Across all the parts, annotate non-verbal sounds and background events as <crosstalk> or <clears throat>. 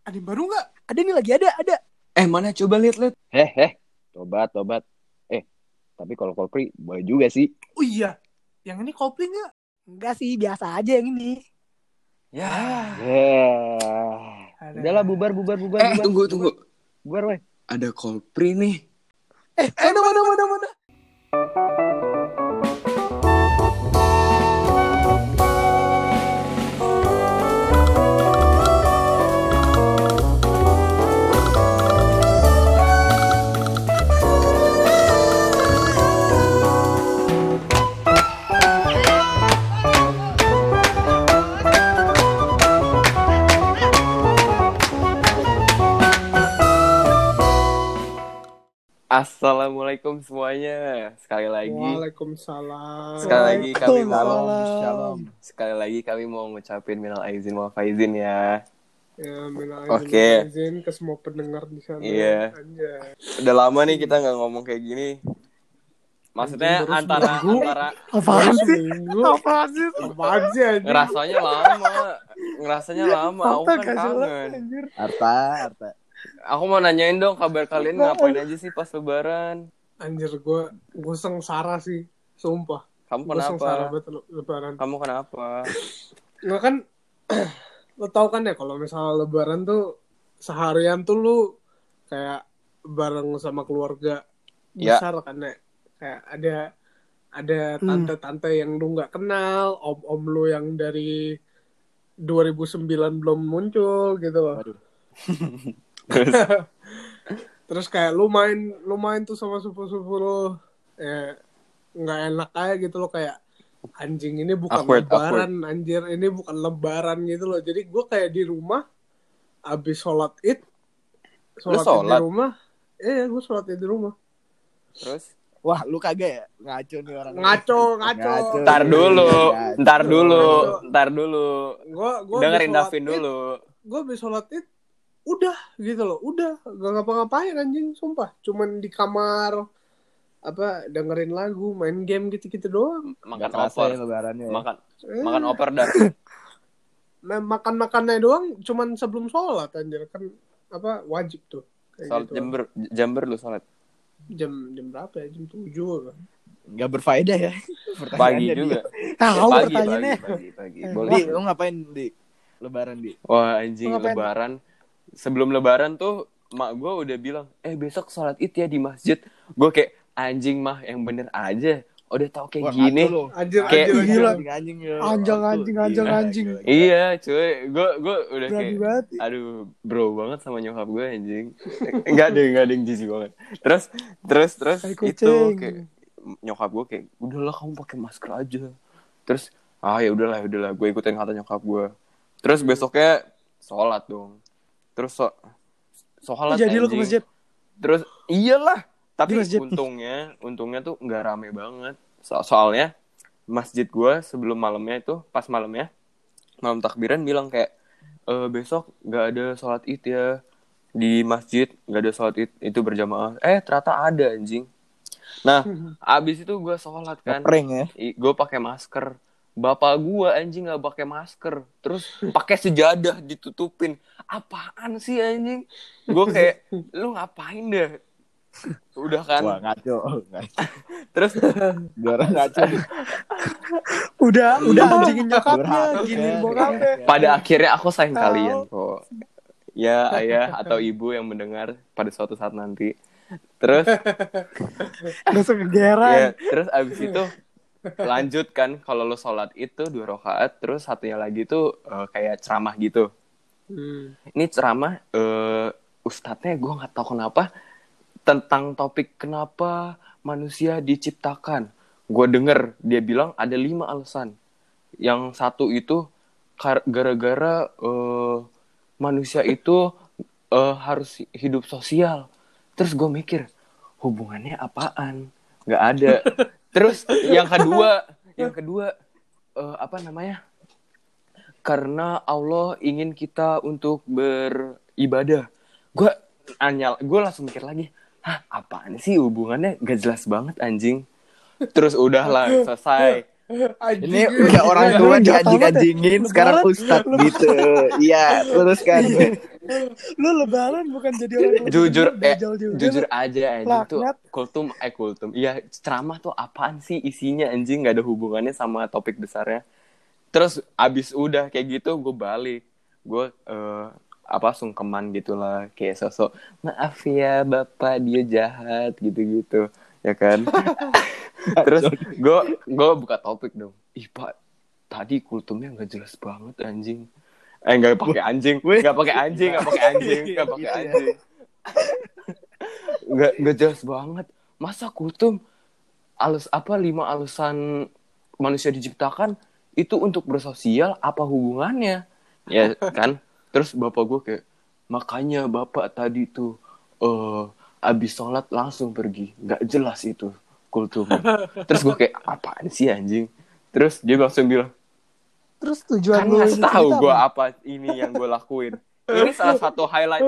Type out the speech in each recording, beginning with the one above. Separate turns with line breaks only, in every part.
Ada yang baru nggak?
Ada nih lagi ada, ada.
Eh mana coba lihat lihat.
Heh, heh. Eh, Tobat, tobat. Eh, tapi kalau Kopri boleh juga sih.
Oh iya. Yang ini kopling nggak?
Enggak sih, biasa aja yang ini. Ah,
Ya.
Yeah.
Ada.
Udahlah bubar, bubar, bubar.
Eh
bubar,
tunggu
bubar,
tunggu.
Bubar, weh.
Ada Kolpri nih.
Eh,
Eh, mana, mana, mana, mana?
Assalamualaikum semuanya. Sekali lagi,
Oh,
Waalaikumsalam.
sekali lagi kami mau
Waalaikumsalam.
Shalom.
sekali lagi kami mau ngucapin minal aizin wal faizin ya.
Ya,
Oke.
izin ke semua pendengar di sana.
Iya. Udah lama nih kita nggak ngomong kayak gini. Maksudnya
Anjing, baru
antara
seminggu.
antara
Apaan sih?
Apa sih? Apa aja?
ngerasanya lama, ngerasanya
Iya,
lama. Aku kan kangen.
Arta, Arta.
Aku mau nanyain dong kabar kalian ngapain aja sih pas lebaran?
Anjir, gue gue sengsara sih. Sumpah.
Kamu
Gue sengsara
kenapa?
banget le- lebaran.
Kamu kenapa?
Nggak kan, <clears throat> lo tau kan ya kalau misalnya lebaran tuh seharian tuh lu kayak bareng sama keluarga
Ya.
besar kan ya. Kayak ada ada tante-tante yang lu nggak kenal, om-om lu yang dari 2009 belum muncul gitu loh. <laughs>
Terus
Terus kayak lu main lu main tuh sama sepupu-sepupu lu eh nggak enak aja gitu loh kayak anjing ini bukan
Awkward,
lebaran anjir ini bukan lebaran gitu loh. Jadi gue kayak di rumah abis sholat id sholat, Id
sholat?
di rumah eh gue sholat id di rumah
terus
Wah, lu kagak ya? Ngaco nih orang.
ngaco ngaco
Ngaco.
ntar dulu, ntar dulu, ntar dulu.
gue gue
Dengerin Davin dulu.
gue abis sholat id udah gitu loh udah gak ngapa-ngapain anjing sumpah cuman di kamar apa dengerin lagu main game gitu-gitu doang
Makan
Gak kerasa
opor.
ya lebarannya. ya.
Makan
Iya.
Eh,
makan opor dah.
ma- makan-makannya doang cuman sebelum sholat anjir kan apa wajib tuh Kayak
Salat
gitu.
jember jember lu salat.
jam jam berapa ya jam tujuh kan.
Enggak berfaedah ya.
Pagi
Pertanyaannya,
juga.
Di. Tahu
Pagi, pagi,
pertanyaannya.
pagi, pagi.
Eh,
Boleh.
Di, lu ngapain di lebaran di?
Wah, anjing
Lu ngapain?
lebaran. Sebelum lebaran tuh mak gue udah bilang, "Eh, besok sholat Id ya di masjid." Gue kayak anjing mah yang bener aja. Udah tau kayak gini.
ngaco lu.
anjir
Kayak-
anjir, anjir.
Gila. Anjing ya.
Anjing, anjing, anjing, anjing.
Iya, cuy. Gue gue udah
Berani
kayak
banget.
aduh bro banget sama nyokap gue anjing <laughs> nggak ada nggak ada yang jijik banget terus terus terus
Tai
itu
kucing.
kayak nyokap gue kayak udahlah kamu pakai masker aja terus ah ya udahlah ya udahlah gue ikutin kata nyokap gue terus besoknya sholat dong terus so sholat
Jadi lu ke
anjing.
masjid.
terus iyalah tapi
Di masjid.
untungnya untungnya tuh nggak rame banget So- soalnya masjid gue sebelum malamnya itu pas malamnya malam takbiran bilang kayak e, besok nggak ada sholat id ya di masjid nggak ada sholat id itu berjamaah eh ternyata ada anjing nah abis itu gue sholat kan
Prank ya.
gue pakai masker bapak gue anjing nggak pakai masker terus pakai sejadah ditutupin apaan sih anjing gue kayak lu ngapain deh udah kan
Wah, ngaco. Ngaco.
terus
Juara ngaco.
Udah, udah anjingin
Durhaka,
nyokapnya,
kan?
gini bokapnya.
pada akhirnya aku sayang kalian kok ya ayah atau ibu yang mendengar pada suatu saat nanti terus
Langsung kegeran.
ya terus abis itu lanjut kan kalau lo sholat itu dua rakaat terus satunya lagi tuh eh, kayak ceramah gitu
Hmm.
ini ceramah eh ustadznya gue nggak tahu kenapa tentang topik kenapa manusia diciptakan gue denger dia bilang ada lima alasan yang satu itu kar- gara-gara eh, manusia itu eh, harus hidup sosial terus gue mikir hubungannya apaan nggak ada terus yang kedua yang kedua eh, apa namanya karena Allah ingin kita untuk beribadah. Gue anyal, gue langsung mikir lagi, hah apaan sih hubungannya gak jelas banget anjing. Terus udahlah selesai.
Anjing,
Ini udah orang tua
Lu jahat banget ya.
dianjing-anjingin, sekarang ustad gitu. Iya, teruskan.
Lu lebaran bukan jadi orang lebaran,
Jujur, eh,
bejol juga.
Jujur aja anjing tuh
Laknat.
kultum eh kultum. Iya, ceramah tuh apaan sih isinya anjing nggak ada hubungannya sama topik besarnya. Terus abis udah kayak gitu gue balik. Gue eh, apa sungkeman gitulah kayak sosok maaf ya bapak dia jahat gitu-gitu ya kan terus gue gue buka topik dong ih pak tadi kultumnya nggak jelas banget anjing eh nggak pakai anjing nggak pakai anjing nggak pakai anjing nggak pakai
iya,
anjing nggak nggak jelas banget masa kultum alus apa lima alasan manusia diciptakan itu untuk bersosial apa hubungannya ya kan terus bapak gue kayak makanya bapak tadi tuh eh abis sholat langsung pergi nggak jelas itu kultum terus gue kayak apaan sih anjing terus dia langsung bilang
Terus tujuan
kan
lu
ngasih
ini
tahu
cerita
gue
apa?
apa ini yang gue lakuin ini salah satu highlight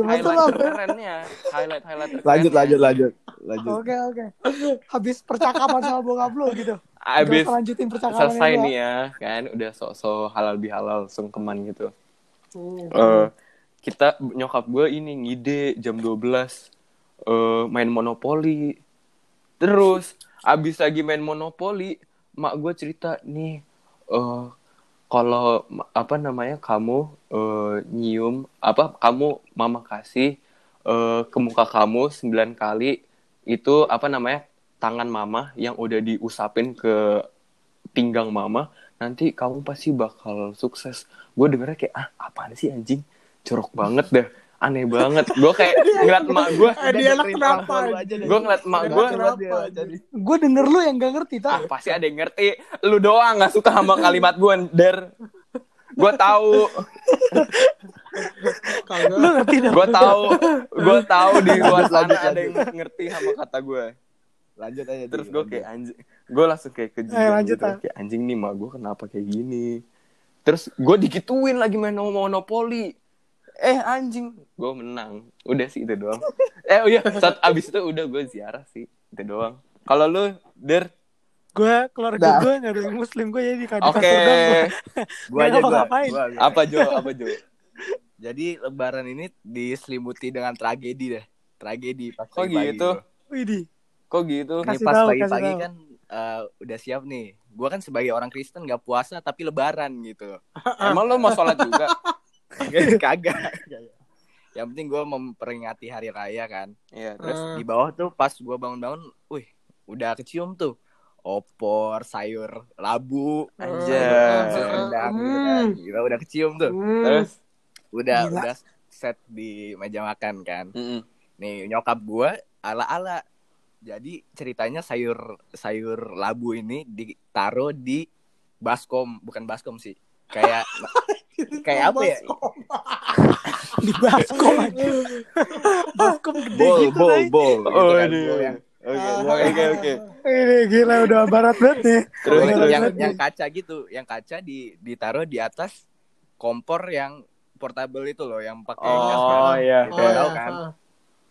Ya, betul
highlight
lah.
terkerennya highlight highlight
Lanjut,
terkerennya.
lanjut, lanjut. Lanjut.
ya. Oke oke. Habis percakapan sama bokap lu gitu.
abis
Terus lanjutin percakapan
selesai nih ya kan udah sok-sok halal bihalal sungkeman gitu
Hmm.
Eh, kita nyokap gue ini ngide jam 12 eh, main monopoli terus abis lagi main monopoli mak gue cerita nih eh kalau ma- apa namanya kamu eh, nyium apa kamu mama kasih eh, ke muka kamu 9 kali itu apa namanya tangan mama yang udah diusapin ke pinggang mama nanti kamu pasti bakal sukses gue dengernya kayak ah apaan sih anjing jorok banget dah aneh banget gue kayak ngeliat mak gue
iya,
Eh, dia anak kenapa?
iya.
gue ngeliat mak
Dia
gue
anak kenapa? anjing?
Gue denger lu yang gak ngerti
ah
tak?
pasti ada yang ngerti lu doang nggak suka sama kalimat gue der gue tahu
Lu
Eh.
Kagak.
ngerti dong?
gue tahu gue tahu di luar
Lanjut, lanjut,
sana ada yang
lanjut.
ngerti sama kata gue
Lanjut aja. Dik,
Iya, terus gue
lanjut.
kayak anjing gue langsung kayak ke gitu kan,
Eh, lanjut, ah.
kayak anjing nih mah gue kenapa kayak gini terus gue dikituin lagi main monopoli eh anjing gue menang udah sih itu doang eh oh iya saat abis itu udah gue ziarah sih itu doang kalau lu der
Gue keluarga
Dah.
gue gak ada yang muslim gue jadi kadang
Nah. oke
Gua aja,
Kenapa
gua.
ngapain?
Gua aja.
apa jo apa jo
Jadi lebaran ini diselimuti dengan tragedi deh. Tragedi pas
Kok
pagi-pagi
gitu?
gua.
Widih.
kok gitu
Oh, Ini
Kasih
pas
tahu,
pagi-pagi
kasih tahu.
kan eh, udah siap nih. Gua kan sebagai orang Kristen gak puasa tapi lebaran
<laughs>
gitu.
emang lu mau sholat juga
Kagak.
Iya,
Yang penting gua memperingati hari raya kan. <laughs>
Iya.
Terus
Hmm.
Ah.
di bawah tuh pas gua bangun-bangun, wih, udah kecium tuh. Opor, sayur, labu,
Anjay.
Iya.
sayur Iya. rendang
Hmm.
gitu kan. Gila, udah kecium tuh.
Hmm.
terus
Udah
Gila.
udah set di meja makan kan.
Mm-mm.
Nih nyokap gua ala-ala. Jadi ceritanya sayur sayur labu ini ditaruh di baskom, bukan baskom sih.
<laughs>
Kayak kayak apa ya?
Di baskom aja. baskom gede
Bol,
gitu
bol,
Nay.
bol. gitu
oh
kan,
ini
bol yang-
oke
Ah.
oke oke
Ini gila udah barat banget nih.
Terus,
Yang-
terus.
yang yang kaca gitu, yang kaca di ditaruh di atas kompor yang portable itu loh, yang pakai gas
oh
kan.
iya
Oh,
Udah tahu
ya.
kan.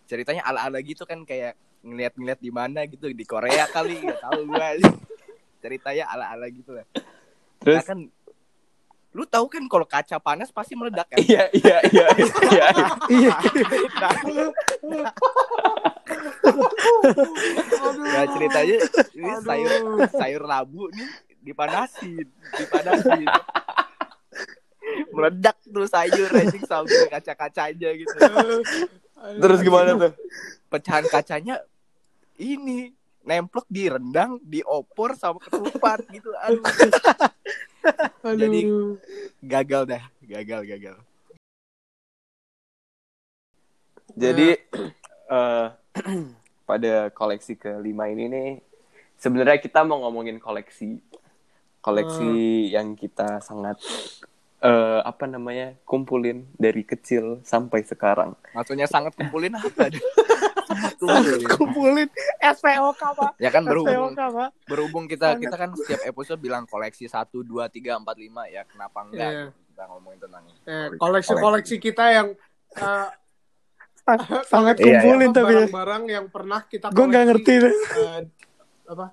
Ceritanya ala-ala gitu kan kayak ngeliat-ngeliat di mana gitu di Korea kali, nggak tahu gua. <laughs> Ceritanya ala-ala gitu lah. Nah,
terus
kan lu tahu kan kalau kaca panas pasti meledak kan.
iya iya iya iya <laughs> iya.
<laughs>
Iya.
Ya,
Nah, ceritanya ini
Aduh.
sayur sayur labu nih dipanasin, dipanasin. meledak terus sayur anjing sampai kaca-kacanya gitu.
Aduh.
terus gimana tuh
Pecahan kacanya ini nemplok di rendang, di opor sama ketupat gitu. Aduh,
Aduh.
Jadi- gagal dah, gagal gagal.
Jadi eh <clears throat> pada koleksi kelima ini nih sebenarnya kita mau ngomongin koleksi koleksi yang kita sangat eh apa namanya kumpulin dari kecil sampai sekarang.
Maksudnya sangat kumpulin apa? Aduh. Sangat kumpulin.
Kumpulin SPOK pak.
Ya kan berhubung
SPOK pak.
berhubung kita kita kan setiap episode bilang koleksi 1 2 3 4 5 ya kenapa enggak
Iya.
kita ngomongin tentang ini.
Eh, koleksi-koleksi kita yang eh,
Sangat
Iya, iya.
kumpulin tapi ya.
barang-barang yang pernah kita
Gue nggak ngerti
koleksi,
deh.
eh, apa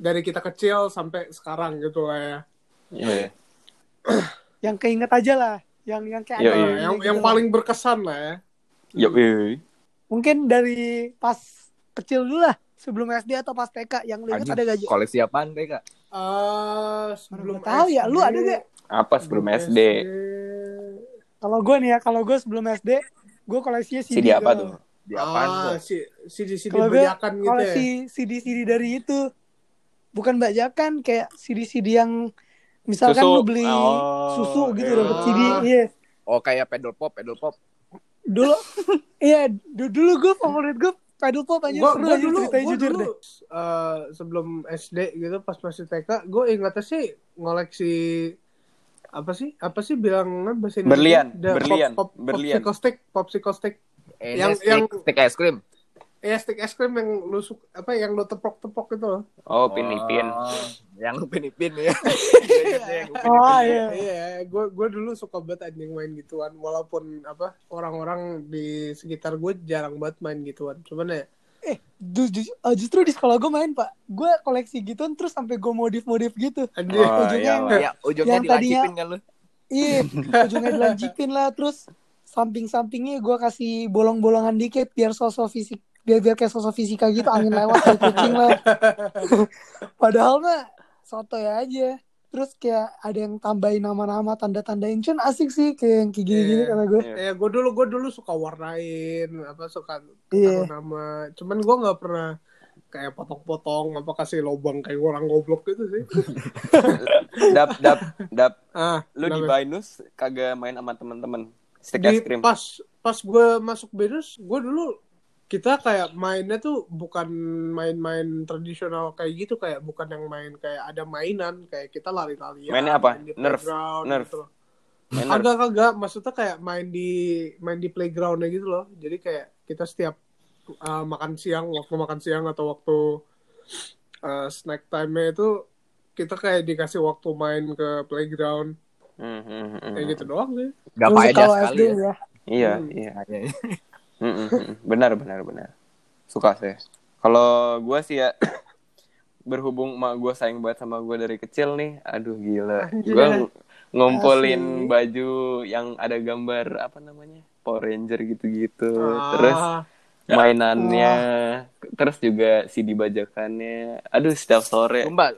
dari kita kecil sampai sekarang gitu lah ya
Iya.
Yang keinget aja lah. yang yang kayak ada
Iya, iya.
lagunya
Eh, yang,
gitu
yang
loh.
paling berkesan lah ya.
Ya, iya.
mungkin dari pas kecil dulu lah sebelum SD atau pas TK yang lu ingat
Anjing.
ada gaji
Koleksi apaan TK?
Eh,
belum
sebelum
tahu ya lu ada gak
deh
Apa sebelum SD?
kalau gue nih ya kalau gue sebelum SD gue koleksinya CD,
CD apa
tau.
tuh?
Di apaan
Ah,
tuh?
si si si
Kalau gue
dibajakan gitu ya.
koleksi CD CD dari itu bukan bajakan kayak CD CD yang misalkan
Susu.
lu beli
Oh,
susu gitu
iya.
dapat CD
Ah.
iya
Oh kayak pedal pop, pedal pop.
dulu iya du- dulu gue favorit gue pedal pop aja
Gua,
seru
gua
aja
dulu,
ceritanya
gua
jujur
dulu
deh
eh, sebelum SD gitu pas masih TK, gue ingatnya sih ngoleksi apa sih? Apa sih bilangnya bahasa Indonesia?
Berlian,
The pop-
berlian,
pop,
berlian.
Popsicle stick, popsicle stick.
Eh,
Yang-
yang, stick,
yang-
stick es krim.
Ya stick es krim yang lu suka, apa yang lu tepok-tepok itu loh.
Oh, pinipin.
Oh, yang upin-ipin ya.
oh iya
Iya, gue gue dulu suka banget anjing main gituan, walaupun apa orang-orang di sekitar gue jarang banget main gituan. Cuman ya,
eh ju- ju- eh, justru di sekolah gue main pak gue koleksi gituan terus sampai gue modif modif gitu
anjing.
Oh,
ujungnya
iya,
yang-
Pak.
ya, ujungnya
Yang tadinya-
dilancipin kan lu.
iya ujungnya dilanjutin lah terus samping sampingnya gue kasih bolong bolongan dikit biar sosok fisik biar biar kayak sosok fisika gitu angin lewat kayak kucing lah padahal mah soto ya aja terus kayak ada yang tambahin nama-nama tanda-tandain cun asik sih kayak yang kayak gini-gini
Iya.
kata gue
Ya gue dulu gue dulu suka warnain apa suka
iya
taruh nama. Cuman gue nggak pernah kayak potong-potong apa kasih lobang kayak orang goblok gitu
<laughs>
sih.
Dap, dap, dap.
Ah,
Lu di
kenapa?
Binus kagak main sama temen-temen. Stick es
Di-
krim.
pas pas gue masuk Binus, gue dulu kita kayak mainnya tuh bukan main-main tradisional kayak gitu kayak bukan yang main kayak ada mainan kayak kita lari-larian
Mainnya apa?
main di
Nerf,
playground
nerf.
gitu loh.
Main
agak agak maksudnya kayak main di main di playgroundnya gitu loh jadi kayak kita setiap uh, makan siang waktu makan siang atau waktu uh, snack time-nya itu kita kayak dikasih waktu main ke playground
Hmm, hmm, hmm, hmm.
kayak gitu doang sih
Gak
Terus
faedah
kalau
sekali
SD
ya.
ya.
Iya,
Hmm.
iya. Mm, mm, mm. Benar, benar, benar. Suka saya. Kalau gue sih ya <coughs> berhubung emak gue sayang banget sama gue dari kecil nih. Aduh gila.
Anjir.
Gue ng- ngumpulin
Asik.
baju yang ada gambar apa namanya? Power Ranger gitu-gitu.
Ah,
Terus mainannya, terus juga CD bajakannya. Aduh, setiap sore
Sumpah,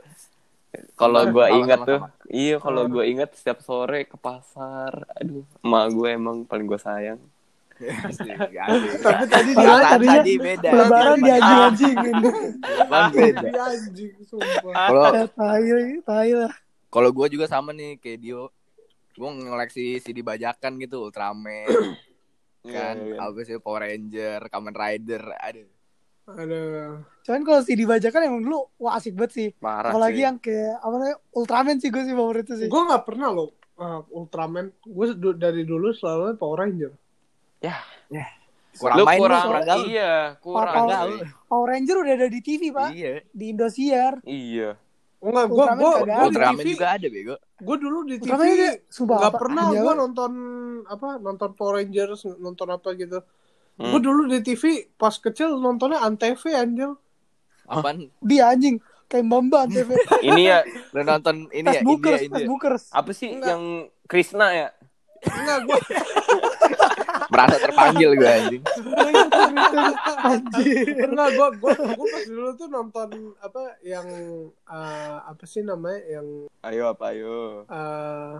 kalau
Sama,
gua
sama,
ingat
sama,
tuh
sama.
iya kalau
Ah.
gua ingat setiap sore ke pasar aduh emak gue emang paling gue sayang
tapi tadi
Padahal
Perasaan
dia
tadinya
tadi beda.
Lebaran
Iya.
dianjing-anjingin.
Perasaan beda.
dia iya, anjing
<laughs>
sumpah
Kalau
Ada tai, tai lah.
kalau gue juga sama nih kayak Dio. Gue ngoleksi CD bajakan gitu, Ultraman, kan,
Iya, iya.
abis itu Power Ranger, Kamen Rider, aduh.
Aduh.
Cuman kalau si dibajakan emang dulu wah asik banget sih.
parah
Apalagi
cuy.
yang kayak apa namanya Ultraman sih gue sih favorit itu sih.
gue nggak pernah loh uh, Ultraman gue du- dari dulu selalu Power Ranger
Kurang
lu
main lu,
kurang,
kurang gaul.
iya kurang
Parah.
gaul.
Power Ranger udah ada di TV pak
Iya.
di Indosiar.
iya
Oh, enggak, gue
Ultraman
gue
kagak ada.
Ultraman juga ada bego.
gue dulu di TV
Ultraman juga sumpah apa? Iya
nggak
kan?
pernah
Jawa.
gue nonton apa nonton Power Rangers nonton apa gitu
Hmm.
gue dulu di TV pas kecil nontonnya antv anjir
Apaan?
Dia anjing kayak Mbamba TV.
ini ya
Lu nonton ini
Tas
ya, India,
Bookers, Tas
India.
Bookers.
apa sih
Enggak.
yang Krishna ya
enggak gue
<laughs>
Merasa terpanggil gue anjing.
Anjir.
enggak gue gue gue pas dulu tuh nonton apa yang eh, apa sih namanya yang
ayo apa ayo
eh,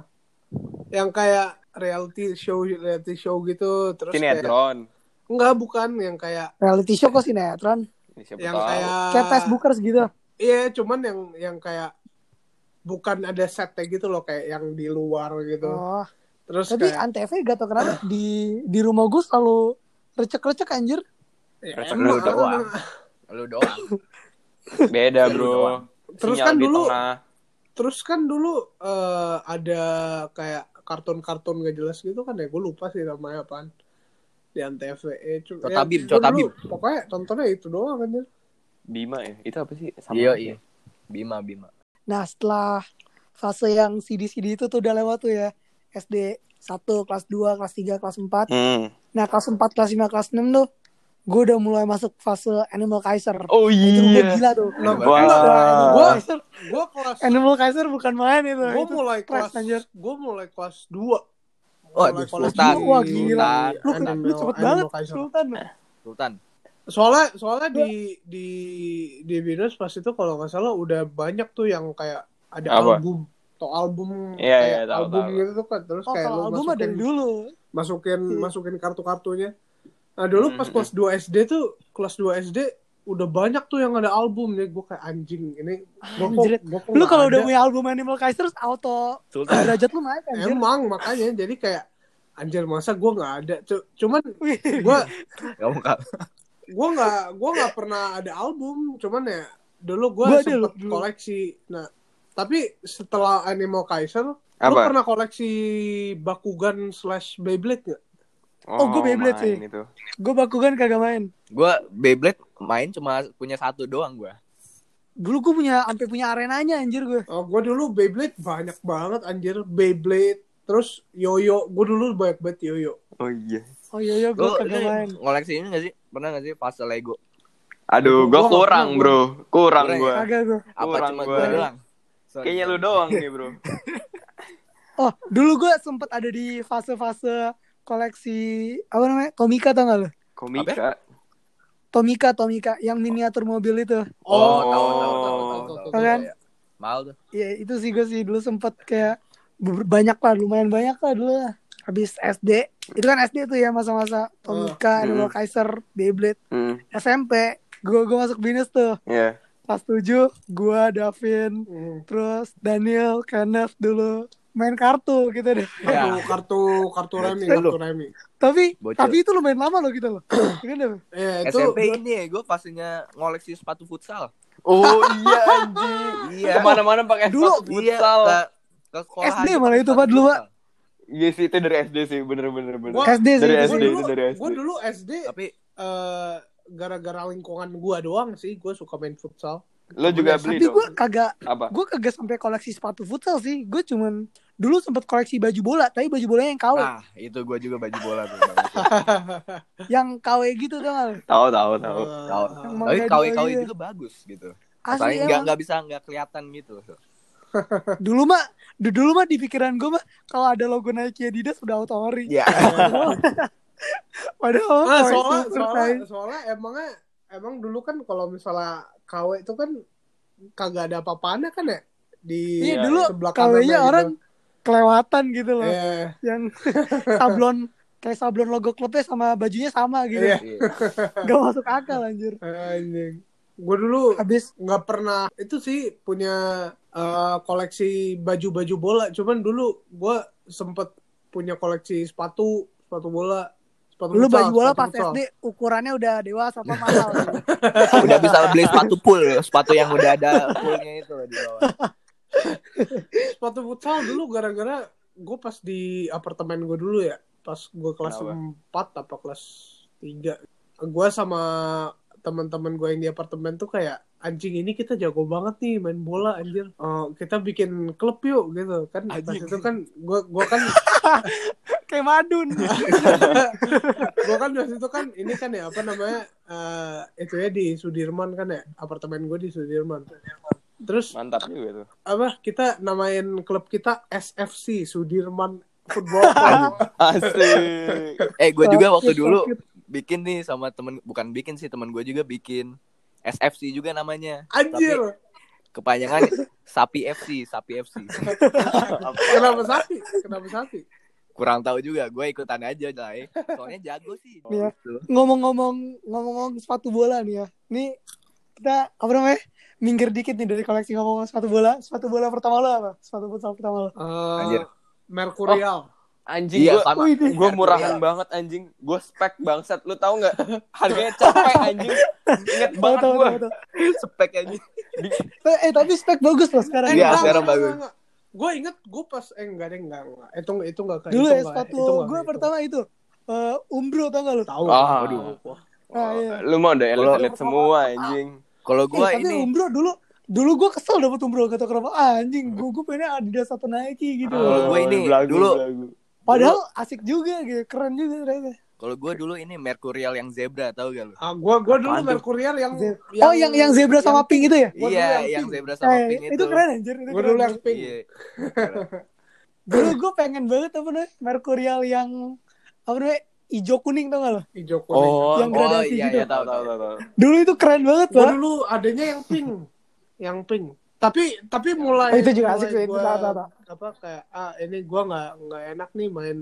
yang kayak reality show reality show gitu terus kayak,
sinetron
enggak bukan yang kayak
Reality show kok sinetron.
Ini siapa
yang
tahu.
kayak
Kayak Tas Bookers gitu.
Iya, cuman yang yang kayak bukan ada setnya gitu loh kayak yang di luar gitu.
Oh.
Terus
Tapi
kayak
Antv gak tau kenapa di di rumah gue selalu recek-recek anjir.
ya,
Recek
emang,
dulu doang.
emang.
Lu doang.
beda bro
doang.
Terus
Sinyal
kan
di
dulu
tengah.
terus kan dulu eh, ada kayak kartun-kartun gak jelas gitu kan ya gue lupa sih namanya apaan di Antv. Eh, cu- ya,
Cotabib,
gua dulu
Cotabib.
Pokoknya tontonnya itu doang kan
Bima ya itu apa sih sama
Iya,
aja.
iya. Bima, Bima.
Nah setelah fase yang CD-CD itu tuh udah lewat tuh ya. SD 1, kelas 2, kelas 3, kelas 4.
Hmm.
Nah kelas 4, kelas 5, kelas 6 tuh gue udah mulai masuk fase Animal Kaiser.
oh
Itu gue
iya
gila tuh.
Nah,
Wah.
Gila tuh, Animal
Wah.
Kaiser.
Gue kelas
Animal Kaiser bukan main itu.
gue
Itu
mulai
kelas,
kelas
anjir.
gue mulai kelas 2
Waduh,
Kalau- kalau
Sultan.
di
Wah, gila. Lu,
anime-
lu cepet
anime
banget
Kaiser. Eh,
Sultan.
Sultan.
Soalnya soalnya di di di Binus pas itu kalau nggak salah udah banyak tuh yang kayak ada
Apa?
album atau album
Iya,
kayak
iya, tahu,
album
tahu.
gitu tuh kan terus
Oh,
kayak lu
kalau album mah
masukin
dari dulu.
masukin
Hmm.
masukin kartu-kartunya. Nah, dulu pas
Hmm.
kelas 2 SD tuh kelas 2 SD udah banyak tuh yang ada album nih gue kayak anjing ini gua kok-
Anjrit.
gua kok
Ah, Lu
nggak
kalau udah
ada.
punya album Animal Kaiser auto
Sultan.
derajat lu naik anjir.
emang makanya jadi kayak anjir masa gue nggak ada Cu-
<laughs>
cuman gue
<laughs> Kamu kak.
gue nggak gue nggak pernah ada album cuman ya dulu gue
Gua ada
sempet
loh, dulu.
koleksi nah tapi setelah Animal Kaiser lu
Apa?
pernah koleksi Bakugan slash Beyblade nggak
Oh, gua Beyblade sih.
main itu.
Gue bakugan kagak main.
Gue Beyblade main cuma punya satu doang gue.
Dulu gue punya sampai punya arenanya anjir gue.
oh, gue dulu Beyblade banyak banget anjir Beyblade terus yoyo gue dulu banyak banget yoyo
Oh iya.
Oh iya iya gue
Lu
kagak
eh,
ini
main.
ngoleksi ini gak sih? Pernah gak sih fase Lego?
Aduh, gua
Gua nggak
kurang,
pernah,
Bro. Kurang ya?
Kurang,
gua.
Kagak gue.
Apa
Kurang
cuma
gua.
gue doang? Sorry.
Kayaknya lu doang nih, Bro.
Oh dulu gue sempet ada di fase-fase koleksi apa namanya Tomika tau gak lu?
Komika.
Tomika Tomika yang miniatur mobil itu.
Oh, tahu tahu
Oh.
tahu tahu, tahu.
Tahu kan?
Iya, iya. Mahal tuh.
Ya itu sih gue sih dulu sempet kayak ber- banyak lah lumayan banyak lah dulu lah. Habis SD itu kan SD tuh ya masa-masa Tomika, Animal Kaiser, Beyblade,
Hmm,
SMP. Gue gue masuk binus tuh.
iya.
Pas tujuh, gua, Davin,
Hmm.
terus Daniel, Kenneth dulu main kartu gitu deh.
kartu
Ya.
kartu kartu remi
Lu.
kartu remi
Tapi
Bocil.
tapi itu lumayan lama loh gitu loh. Gitu deh.
ya itu
SMP ini gue pastinya ngoleksi sepatu futsal.
Oh iya anjing.
Iya.
Kemana-mana pakai
Dulu,
sepatu futsal.
Iya, ke, ke sekolah
SD
aja
malah
pakai
itu,
sepatu
Pak, dulu, Pak.
futsal.
Iya sih itu dari SD sih, bener-bener bener.
Wah,
SD sih
Oh,
itu
Dari
gue
SD,
sih.
dulu
itu dari SD.
gue dulu SD
Tapi
eh, gara-gara lingkungan gue doang sih gue suka main futsal
Lo juga beli
Tapi
dong.
gua kagak
Apa?
gua kagak sampai koleksi sepatu futsal sih. Gua cuman dulu sempat koleksi baju bola, tapi baju bolanya yang KW,
nah itu gue juga baju bola tuh.
yang KW gitu kan.
Tahu tahu tahu.
Eh,
Tahu.
Emang
Tapi
kayak
KW
gitu
KW
aja.
juga bagus gitu.
Asli
Tapi nggak
emang.
nggak bisa nggak kelihatan gitu.
Dulu mah du- dulu mah di pikiran gua mah kalau ada logo Nike Adidas udah auto ori.
Iya.
Padahal
Ya. Ah,
KW
soalnya,
super
soalnya,
size.
soalnya emangnya emang dulu kan kalau misalnya KW itu kan kagak ada apa-apanya kan ya di
Iya,
Iya,
dulu
sebelah kanan
KW-nya
gitu.
orang kelewatan gitu loh.
Eh,
yang <laughs> sablon kayak sablon logo klubnya sama bajunya sama gitu.
Iya.
Iya.
Gak masuk akal anjir.
anjing. Gue dulu
Habis
nggak pernah itu sih punya eh, koleksi baju-baju bola cuman dulu gue sempet punya koleksi sepatu sepatu bola sepatu
lu
futsal,
baju bola
sepatu
pas
futsal.
SD ukurannya udah dewasa apa mahal. gitu.
<laughs>
udah bisa beli sepatu pool, sepatu yang udah ada poolnya itu loh di bawah.
sepatu futsal dulu gara-gara gue pas di apartemen gue dulu ya pas gue kelas
Kenapa?
4 apa kelas 3 gue sama teman-teman gue yang di apartemen tuh kayak anjing ini kita jago banget nih main bola anjir Eh, kita bikin klub yuk gitu kan pas
Anjing.
itu kan gue gua kan
kayak madun.
gue kan waktu itu kan ini kan ya apa namanya eh itu ya di Sudirman kan ya apartemen gue di Sudirman terus
Mantap juga tuh.
apa kita namain klub kita SFC Sudirman Football Club
Asik.
Eh gue juga waktu
Sakit,
dulu
sakit.
bikin nih sama temen bukan bikin sih temen gue juga bikin SFC juga namanya
anjir
<laughs>
kepanjangan Sapi FC Sapi FC
kenapa sapi kenapa sapi
kurang tahu juga gue ikutan aja Jai. soalnya jago sih
Iya.
Gitu.
ngomong-ngomong ngomong-ngomong sepatu bola nih ya. Nih kita apa namanya? Minggir dikit nih dari koleksi ngomong sepatu bola. Sepatu bola pertama lo apa? Sepatu futsal pertama lo.
Eh,
Anjir.
Merkurial
<laughs> Anjing
Iya
gua
sama
Wih, deh.
Gue murahan banget anjing. Gue spek bangsat. Lu tahu nggak? Harganya capek anjing. Ingat
Tahu,
banget
tahu,
gue.
tahu, tahu.
spek aja
Eh, Eh tapi spek bagus loh sekarang.
Iya, sekarang bagus.
gue inget gue pas eh enggak deh enggak enggak itu itu enggak kayak
Dulu
itu
ya
enggak,
sepatu
itu gitu. enggak,
gue
itu.
pertama itu eh, Umbro tau gak lu?
tahu
Ah.
aduh
Ah, iya.
Lu mah udah
Kalau-
elit-elit semua anjing.
kalau
Eh,
gue
tapi
ini
Umbro dulu dulu gue kesel dapet Umbro kata kenapa "Ah, anjing gue gue pengennya Adidas atau Nike gitu
Kalau
Ah,
gua ini,
belagu,
dulu-
belagu.
padahal asik juga gitu keren juga ternyata
kalau gue dulu ini Merkurial yang zebra tahu gak lu
ah gue gue dulu
Apaan tuh?
Merkurial yang,
Ze- oh yang yang zebra sama
yang-
pink itu ya
Gua dulu
iya
yang
yang
pink.
zebra sama
eh,
pink Iya.
itu.
itu
keren anjir itu
gue
keren
dulu yang pink
Iya.
Dulu gue pengen banget apa namanya Merkurial yang apa namanya hijau kuning tau gak lo?
Hijau kuning.
Oh,
Yang gradasi
iya,
gitu.
iya, tahu, tahu, tahu.
Dulu itu keren banget
Gua
pak.
dulu adanya yang pink. yang pink. Tapi tapi mulai
Oh, itu juga asik
mulai
sih, itu
gua-
tahu, tahu, tahu.
apa kayak ah ini gua nggak nggak enak nih main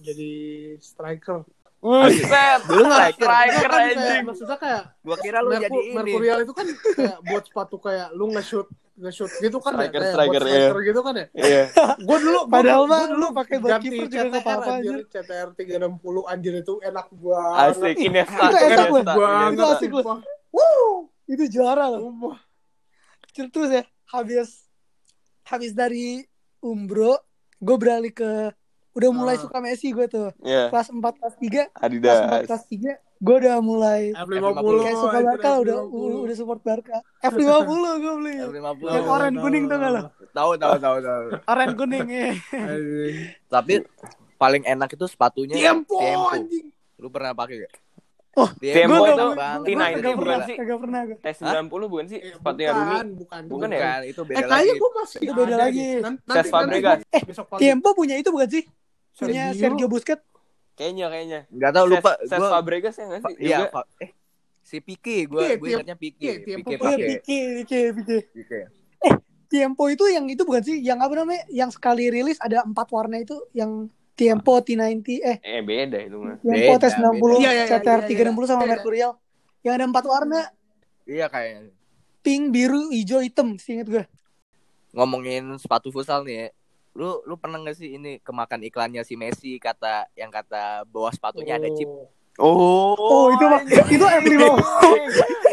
jadi striker.
Buset,
Dulu striker.
striker
Kan kayak-
anjing.
maksudnya kayak
Gua kira lu
Merku-
jadi ini.
Merkurial itu kan kayak buat sepatu kayak lu nge-shoot nge-shoot gitu kan
Striker,
ya kayak
striker,
buat striker gitu kan ya.
Iya.
Gua dulu gua-
Padahal
gua
mah lu pakai buat
ganti
kiper juga nggak
CTR,
apa-apa,
anjir. CTR 360 anjir itu enak banget.
Asik
Ih,
Inesta.
itu Eh, enak
Iniesta,
banget.
Iniesta.
Banget.
Itu asik loh. Wow, itu juara loh.
Sumpah.
Terus- Terus ya, habis habis dari Umbro, gue beralih ke udah mulai
Ah.
suka Messi gue tuh.
Iya,
Kelas 4 kelas 3, kelas 4
Adidas.
kelas 3 gue udah mulai
F50
kayak suka
anjir,
Barca udah
F50.
udah support Barca. F50 gue beli. Yang
Tahu,
F50.
oranye
tahu,
kuning tuh
tahu.
gak lo?
Tahu tahu tahu tahu.
Oranye kuning ya.
Anjing.
Tapi
Iya.
paling enak itu sepatunya
Iya,
Tiempo
Tiempo.
anjing.
Lu pernah pakai gak?
Oh,
Tiempo
Gua
itu
nggak- gua
T90 itu
kagak pernah,
bukan sih?
kagak pernah gue.
T90 bukan sih?
Eh,
Iya,
Sepatunya Rooney.
bukan, bukan,
Bukan ya?
Bukan, itu
Eh
beda
kayaknya
lagi.
gue masih
Itu beda
ada
lagi.
deh. Nan-
Ses Fabregas.
nanti- eh, besok pagi.
Tiempo punya itu bukan sih? Punya Sergio
Sergio.
Busquets.
Kayaknya, kayaknya.
Enggak tahu lupa
Ses, Ses
gua
Fabregas ya nggak
Fa-
sih?
Iya,
Juga.
Fa- eh si Piki gua
Iya,
gua
Tiempo-
ingatnya Piki.
iya, Tiempo
Piki
Oke.
Iya,
pakai.
Pique, Pique, Pique.
Piki.
Tiempo itu yang itu bukan sih? Yang apa namanya? Yang sekali rilis ada empat warna itu yang Tiempo T90 eh
Eh, beda itu mah.
Tiempo
Ah. Beda,
T90,
beda. Iya, iya, iya,
CTR
iya,
360 sama
iya.
Mercurial. Yang ada empat warna,
Iya kayaknya.
pink, biru, hijau, hitam, seinget gue.
Ngomongin sepatu futsal nih ya. Lu lu pernah gak sih ini kemakan iklannya si Messi kata yang kata bahwa sepatunya ada chip.
Oh. iya,
Oh,
Oh, itu mah itu F50. <laughs>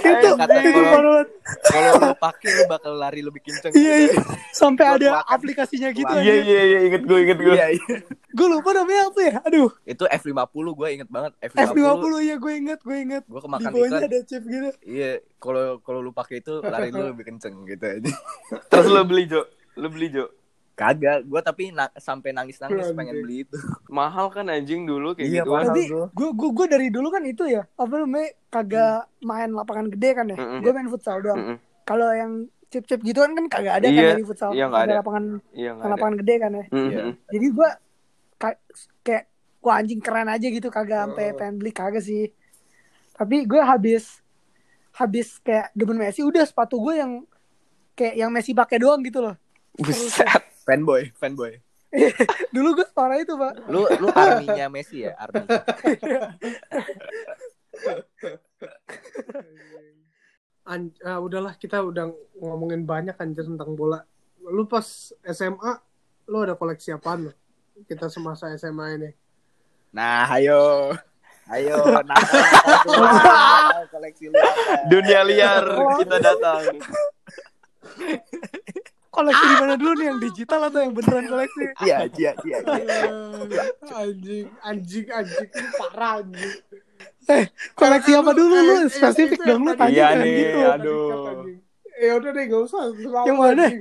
itu
Kata
itu
kalau-
banget.
Kalau lu pakai lu bakal lari lebih kenceng.
Oh. Iya, iya. Sampai
Buat
ada
makan.
aplikasinya gitu
Buat-
Iya,
aja.
iya, iya, inget gue, inget gue.
Iya, iya.
Gue lupa namanya apa ya? Aduh,
Itu F50 gua inget banget F50.
F50 ya gue inget, gue inget.
Gua
Di
kemakan
bawahnya
iklan.
ada chip gitu.
Iya, kalau kalau lu pakai itu lari
<laughs>
lu lebih kenceng gitu aja.
Terus lo beli, Jo. Lo beli, Jo.
Kagak, gua tapi na- sampai nangis-nangis
Anjing.
pengen beli itu.
Mahal kan anjing dulu kayak
Iya,
gitu kan.
mahal.
Tapi
gua.
gue gue gue dari dulu kan itu ya apa namanya kagak
Hmm.
main lapangan gede kan ya.
Mm-mm.
Gue main futsal doang.
Mm-mm.
Kalau yang chip-chip gitu kan kan kagak ada
Iya,
kan dari futsal.
iya, nggak
Kagak
ada.
lapangan
Iya, nggak ada.
lapangan gede kan ya.
Mm-mm.
Iya.
Jadi gue ka- kayak wah anjing keren aja gitu kagak sampai
Oh.
pengen beli kagak sih. Tapi gue habis habis kayak demen Messi udah sepatu gue yang kayak yang Messi pakai doang gitu loh. <laughs>
Buset.
Fanboy, fanboy.
Dulu gue parah itu, Pak.
Lu lu arminya Messi ya, army.
An- ah, udahlah kita udah ngomongin banyak anjir tentang bola. Lu pas SMA lu ada koleksi apaan lu? Kita semasa SMA ini.
<laughs>
Nah, ayo. Ayo, nah, tahu koleksi lu. apa?
<laughs> Dunia liar kita datang.
Koleksi di mana dulu nih yang digital atau yang beneran koleksi?
Iya, iya, iya. iya.
anjing, anjing, anjing, Lu parah anjing.
Koleksi apa dulu lu?
Eh, eh,
Spesifik
itu
dong lu
yang tadi
Iya
tanya kan
nih,
gitu.
iya. aduh.
Ya udah deh, gak usah. Selalu
Yang mana?
anjing.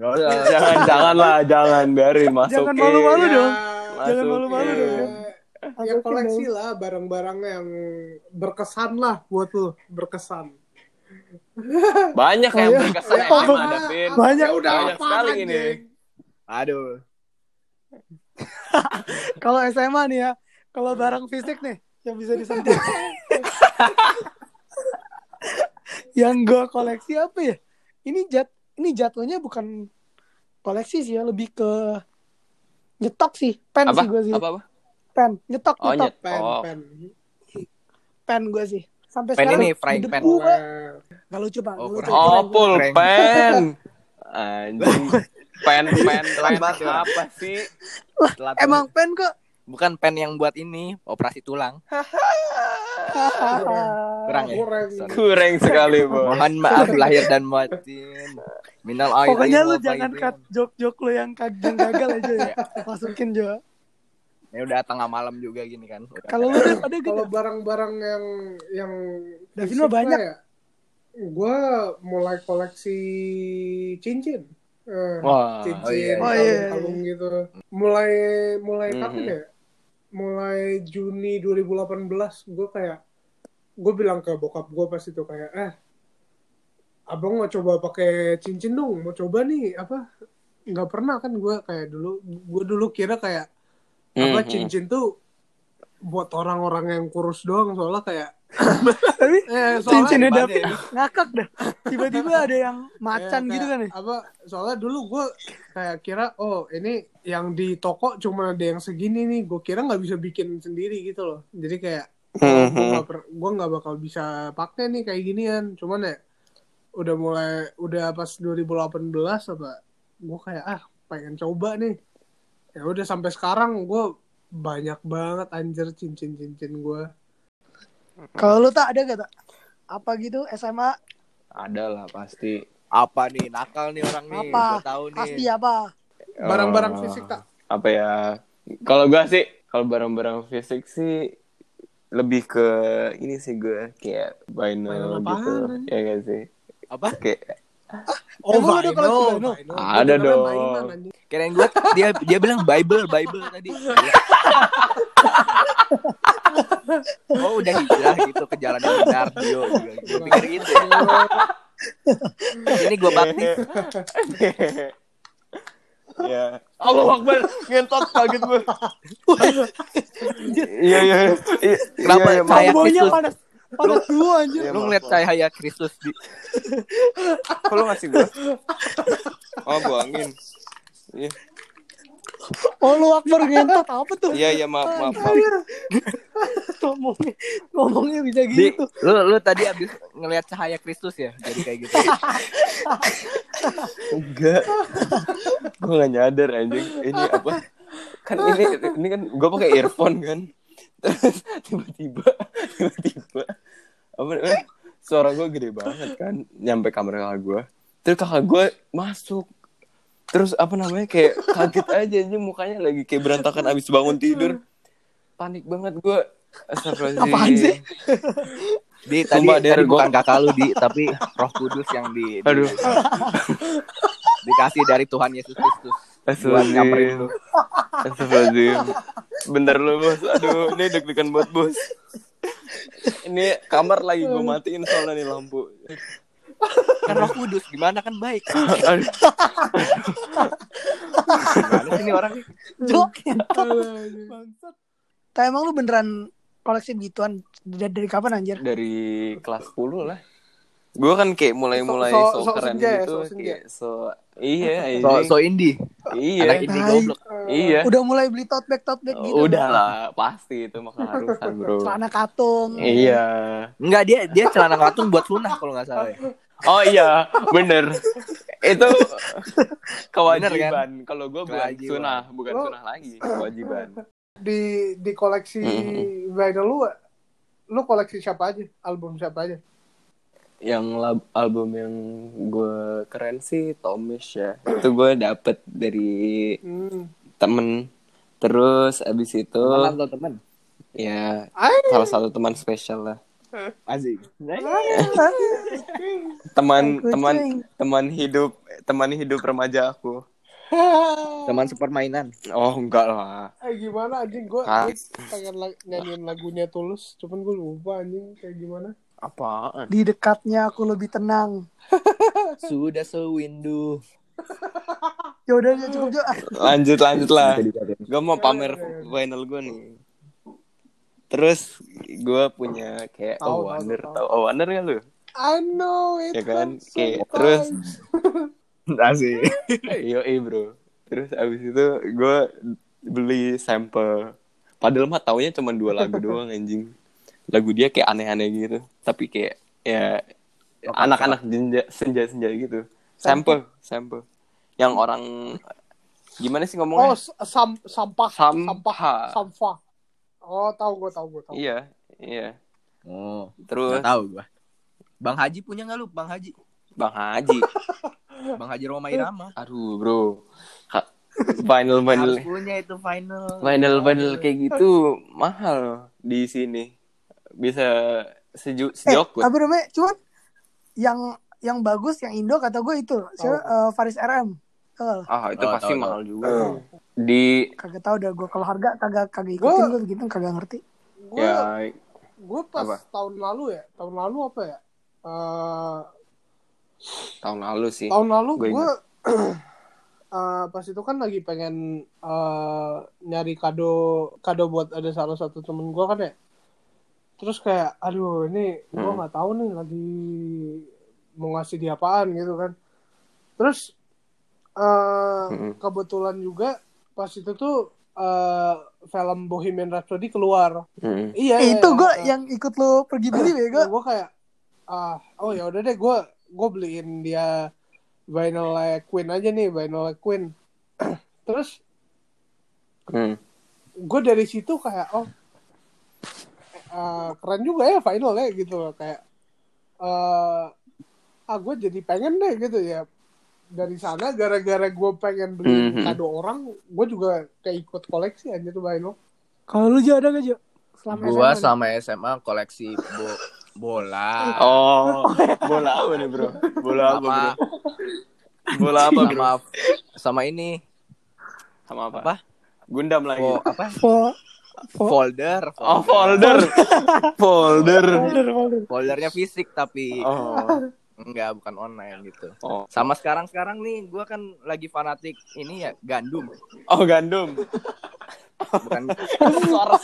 Nggak usah.
jangan, jangan lah, jangan biarin masuk.
Jangan malu-malu
Ya,
dong.
Masukin.
Jangan malu-malu
ya,
dong.
ya koleksi lah barang-barang yang berkesan lah buat lu, berkesan.
Banyak yang
Oh, iya.
berkesan
Oh,
emang
banyak.
ada Vin.
Banyak.
Ya udah
Banyak sekali
apaan,
ini.
anjing?
Aduh.
Kalau SMA nih ya,
Hmm.
kalau barang fisik nih yang bisa
<laughs>
disentuh. yang gue koleksi apa ya? Ini jat ini jatuhnya bukan koleksi sih ya, lebih ke nyetok sih, pen
Apa?
sih gue sih,
Apa apa?
pen, nyetok
Oh,
nyetok,
nyet.
Pen,
Oh.
pen.
pen gue sih. Sampai
Pen
sekarang
ini, frying
hidup
pan.
gua-
Pen.
Gak lucu pak,
Oh,
gak lucu.
Oh, pul
Prank.
pen. Anjing. Pen, pen, pen.
Banget.
Apa sih?
Telat
Emang pen
<laughs>
kok?
bukan pen yang buat ini, operasi tulang.
Ah,
Kurang ya.
Kurang.
Sorry.
Kurang sekali, Bos.
Mohon maaf lahir dan batin. Minal aidin
Pokoknya lu
wal
jangan
faizin.
cut joke-joke lu yang kag- yang gagal aja
<laughs>
ya. Masukin juga.
Ini Ya udah tengah malam juga gini kan. Udah.
Kalau lu Dev, ada
Kalau
gak?
barang-barang yang yang
Davin
fisik
mah banyak.
lah ya, Gua mulai koleksi cincin. Eh,
Wah.
cincin,
oh iya,
Oh, iya,
iya.
Mm-hmm. iya.
kalung-kalung gitu. Mulai mulai kapan
Mhm.
ya? Mulai Juni 2018 gue kayak gue bilang ke bokap gue pas itu kayak eh abang mau coba pakai cincin dong mau coba nih apa nggak pernah kan gue kayak dulu gue dulu kira kayak apa
Mm-hmm.
Mhm.
cincin tuh buat orang-orang yang kurus doang soalnya kayak
Tapi
eh,
cincinnya
Soalnya ya?
David ngakak dah. Tiba-tiba ada yang macan
Iya,
gitu kan
kayak
ya.
apa soalnya dulu gue kayak kira oh ini yang di toko cuma ada yang segini nih gue kira nggak bisa bikin sendiri gitu loh jadi kayak
Hmm,
gue nggak per- gua nggak bakal bisa pakai nih kayak ginian cuman ya udah mulai udah pas 2018 apa gue kayak ah pengen coba nih ya udah sampai sekarang gue banyak banget anjir cincin-cincin gue
Kalau lu tak ada gak tak? Apa gitu SMA
Ada lah pasti.
Apa nih nakal nih orang nih?
Apa? ya.
Gua tahu nih.
pasti apa?
barang-barang
Eh,
fisik tak
Apa ya? Kalau gua sih, kalau barang-barang fisik sih lebih ke ini sih gue kayak
Mainan
vinyl
apaan,
gitu.
anjing?
Ya gak sih?
Apa?
Kayak
Emang lu ada koleksi Vino?
Oh, Vino.
Oh, Ada
Gua kira
dong.
mainan, anjing.
Kirain gue dia dia bilang Bible Bible tadi. Oh udah hijrah gitu ke jalan yang benar Dio. Gue pikir gitu. Ini gue bakti.
ya. Allah Akbar, ngentot kaget gue. Iya iya. iya.
Kenapa?
Iya, iya,
Saya-
maaf.
Tombolnya
Kristus.
panas. Panas dulu anjir.
<laughs> Iya,
Lu
maaf,
ngeliat
maaf.
cahaya Kristus di
Kok lu ngasih gue? Oh, gua angin. Iya,
Oh lu akbar ngentot apa tuh?
iya, iya, maaf, maaf, maaf.
Anjir. <laughs> Ngomongnya, ngomongnya bisa
Di,
gitu.
lu lu tadi abis ngelihat cahaya Kristus ya, jadi kayak gitu.
Enggak. gue gak nyadar anjing. Ini apa? Kan ini ini kan gue pakai earphone kan. Terus tiba-tiba tiba-tiba apa namanya? Suara gue gede banget kan nyampe kamar kakak gue. Terus kakak gue masuk. Terus apa namanya kayak kaget aja ini mukanya lagi kayak berantakan abis bangun tidur. Panik banget gue.
Apaan sih?
Di tadi,
Sumpah, Der,
tadi
gua-
bukan kakak lu di, tapi Roh Kudus yang di, di-
Aduh.
dikasih dari Tuhan Yesus Kristus. Buat nyamperin
Astagfirullahaladzim Astagfirullahaladzim Bentar lu bos Aduh ini deg-degan buat bos Ini kamar lagi gue matiin soalnya nih lampu
Kan Roh Kudus gimana kan baik.
Aduh,
Gimana sih ini orang nih?
Jok ngentot. Bangsat. Tak emang lu beneran koleksi begituan dari, dari kapan anjir?
Dari kelas 10 lah Gue kan kayak mulai-mulai
So- so-
so,
so
keren
senja ya,
gitu
so senja.
kayak so,
<laughs>
Iya
So,
anjing.
so indie.
Iya
Anak indie goblok.
Iya
Udah mulai beli tote bag tote bag gitu.
Udah lah pasti itu mah keharusan bro
Celana katung.
Iya
Enggak dia dia celana katung buat sunah kalau nggak salah ya.
Oh iya, bener.
<laughs>
Itu
Bener,
kewajiban. Kalau gue bukan
kan? Kewajiban. Oh.
sunah, bukan
Lo-
sunah lagi, kewajiban.
di di koleksi vinyl lu lu koleksi siapa aja album siapa aja
Yang lab- album yang gue keren sih Tomish ya. Itu gue dapet dari
hmm.
temen. Terus abis itu
Malam tuh teman.
ya
Ay.
salah satu teman spesial lah.
Asik.
Teman
Kucing.
teman teman hidup teman hidup remaja aku.
Teman sepermainan.
Oh enggak lah.
eh gimana anjing gue
Ah.
pengen la- nyanyiin lagunya tulus cuman gue lupa anjing kayak gimana
Apaan?
Di dekatnya aku lebih tenang.
Sudah sewindu.
Ya udah ya cukup Jok.
Lanjut lanjut lah. gue mau pamer
Keren.
vinyl gue nih terus gue punya kayak
Tahu, tahu,
oh wonder
tahu.
tau oh wonder ya lu
I know it
Ya kan?
hurts
Oke,
sometimes.
terus.
Asik.
<laughs> yo bro terus abis itu gue beli sampel padahal mah taunya cuma dua
<laughs>
lagu doang anjing lagu dia kayak aneh-aneh gitu tapi kayak ya anak-anak jenja- senja-senja gitu sampel sampel yang orang gimana sih
oh
ngomongnya
s- sam sampah
Sampah.
sampah sampah oh tahu gue tahu gue tahu
iya iya
Oh,
terus
nggak tahu gua. Bang Haji punya nggak lu? Bang Haji.
bang Haji
Bang Haji Roma Irama.
Aduh bro, Ha- vinyl
Harus
vinyl
punya itu final.
vinyl vinyl kayak gitu mahal di sini bisa
Eh,
seju sejok
apa namanya? Cuman yang yang bagus yang Indo kata gue itu siapa? Eh, Faris RM. Tau nggak lo?
Ah itu
Oh,
pasti
tahu,
mahal juga.
Oh.
Di
Kagak tahu dah gue kalau harga kagak kagak
Gua-
ikutin gue begitu kagak ngerti.
gue
ya
gue pas
Apa?
tahun lalu ya tahun lalu apa ya Eh
tahun lalu sih.
Oh.
<clears throat> tahun lalu
Gua
gue eh, pas itu kan lagi pengen eh, nyari kado kado buat ada salah satu temen gue kan ya terus kayak aduh ini gue
Hmm.
nggak tahu nih lagi mau ngasih dia apaan gitu kan terus eh,
Hmm.
Mm-mm.
kebetulan juga pas itu tuh eh, film Bohemian Rhapsody keluar
Mm-mm.
Ya,
iya
Eh,
iya,
itu
iya.
gue
Nah,
yang ikut lo pergi beli bego.
gue kayak ah oh ya udah deh gue gue beliin dia vinyl Queen aja nih vinyl Queen <clears throat> terus
Mm.
gue dari situ kayak oh eh, keren juga ya finalnya gitu loh kayak eh ah gue jadi pengen deh gitu ya dari sana gara-gara gue pengen beli
Mhm.
kado orang gue juga keikut koleksi aja tuh vinyl
Kalau lu Jo ada gak Jo? Selama
Gua
SMA nih.
sama SMA koleksi bo- bola.
Oh, bola apa nih bro? Bola apa
sama
bro? Bola apa bro?
sama sama ini
Sama apa? Oh,
Apa?
Gundam lagi.
fo- apa?
Fo- fo-
Folder.
Oh, folder. folder.
folder, folder.
Foldernya fisik tapi
Oh.
enggak bukan online gitu.
Oh,
Sama sekarang-sekarang nih gua kan lagi fanatik ini ya gandum.
oh gandum.
Bukan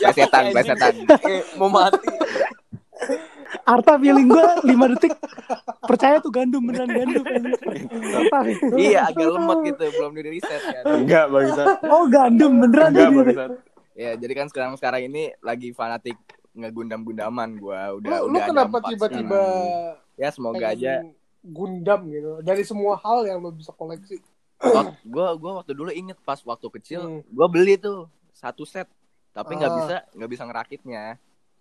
besetan, besetan.
Eh, mau mati.
Arta feeling gue 5 detik Percaya tuh gandum beneran gandum Arta
<laughs>
Iya, agak lemot gitu, belum di reset kan.
Enggak bangsat.
Oh gandum beneran
Enggak
jadi.
bangsat.
Ya, jadi kan sekarang-sekarang ini lagi fanatik ngegundam-gundaman gua. Udah Ya
lu, lu
udah ada
kenapa
empat
tiba-tiba
sekarang. Ya, semoga
pengen
aja
Gundam gitu dari semua hal yang lo bisa koleksi
gue gua waktu dulu inget pas waktu kecil
Hmm.
gue beli tuh satu set tapi nggak
Ah.
bisa nggak bisa ngerakitnya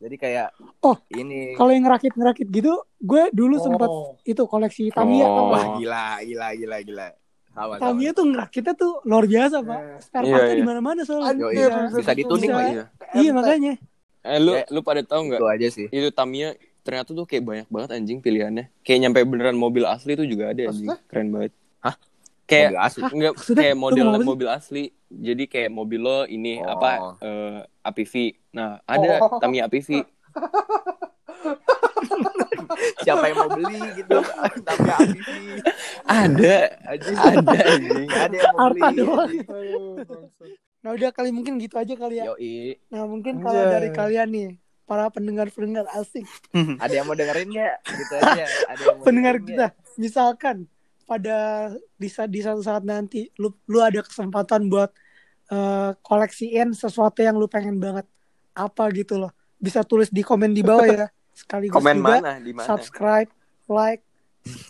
jadi kayak
Oh,
ini
Kalau yang ngerakit-ngerakit gitu Gue dulu sempat
Oh.
itu koleksi Tamiya
Oh.
tau nggak?
wah gila gila gila gila sama sama.
Tamiya tuh ngerakitnya tuh luar biasa pak
Eh,
Spare
ya. Iya,
partnya
iya.
di mana-mana soalnya
Yoi,
Anjir,
bisa dituning
Bisa.
lagi
Iya makanya
Eh lu
Ya.
lu pada tahu nggak?
itu aja sih
Itu Tamiya ternyata tuh kayak banyak banget anjing pilihannya. Kayak nyampe beneran mobil asli tuh juga ada anjing.
Maksudnya?
Keren banget.
Hah?
Kayak
Mobil asli?
enggak
Maksudnya?
kayak
Lu
model
ngomong apa sih?
mobil asli. Jadi kayak mobil lo ini
Oh.
apa eh, APV. Nah, ada
Oh.
Tamiya APV.
siapa yang mau beli
<laughs>
gitu tapi ambisi
Ada.
aja
ada anjing.
nggak ada yang mau
Arta
beli
doang
Aduh, bangsat.
Nah udah kali mungkin gitu aja kali ya
Yoi.
Nah mungkin kalau
Anjay.
dari kalian nih Para pendengar-pendengar asik
ada yang mau dengerin nggak gitu aja ada yang mau
Ah,
Iya.
pendengar
dengerin nggak?
kita misalkan pada di, sa- di satu saat nanti lu lu ada kesempatan buat eh, koleksiin sesuatu yang lu pengen banget apa gitu loh bisa tulis di komen di bawah
<laughs>
ya sekaligus
Komen
juga
mana? Di mana?
subscribe like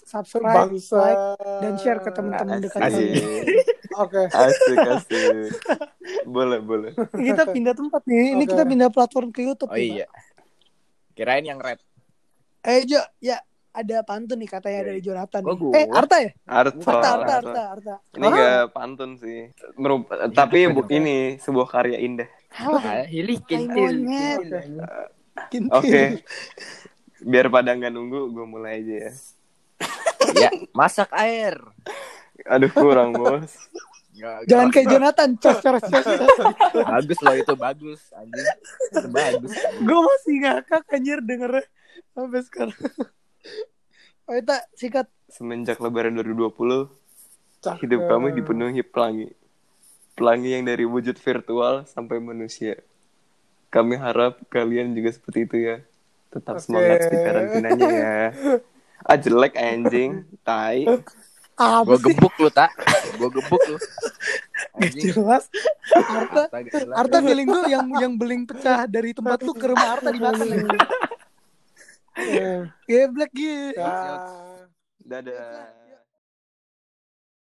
subscribe
Bangsa.
like dan share ke teman-teman dekat
Asik.
kalian
Oke.
Asik, asik. boleh, boleh.
kita pindah tempat nih ini
Oke.
kita pindah platform ke YouTube
oh
nih,
iya kirain yang red
Pak. eh Jo ya ada pantun nih katanya dari Jonathan
Kok
nih.
Iya. Oh, gua?
eh Arta ya
Arta,
Arta Arta
Arta.
Arta Arta
Ini gak pantun sih. Merup- tapi
Iya,
bu- ini sebuah karya indah.
Ah, hilih kintil
Monyet. Kintil.
Oke.
<laughs>
<laughs>
Biar pada nggak nunggu, gue mulai aja ya.
ya masak air
Aduh kurang bos.
Nggak-
Jangan
nggak-
kayak gitu. Jonathan, cos cos cos.
bagus loh itu bagus anjing Itu bagus
Gue masih ngakak anjir denger sampai sekarang. Oh itu sikat.
Semenjak Lebaran 2020,
Cakep.
hidup kami dipenuhi pelangi. Pelangi yang dari wujud virtual sampai manusia. Kami harap kalian juga seperti itu ya. Tetap
Oke.
semangat di karantinanya
<laughs>
ya. Ah jelek anjing, tai.
Apa
gue
sih?
gebuk lu tak gue gebuk lu
Gak jelas. Arta, Arta
Arta
feeling gue yang yang beling pecah dari tempat lu ke rumah Arta di Banten. <laughs>
Eh,
Iya. Geblek gitu.
ya.
Dadah.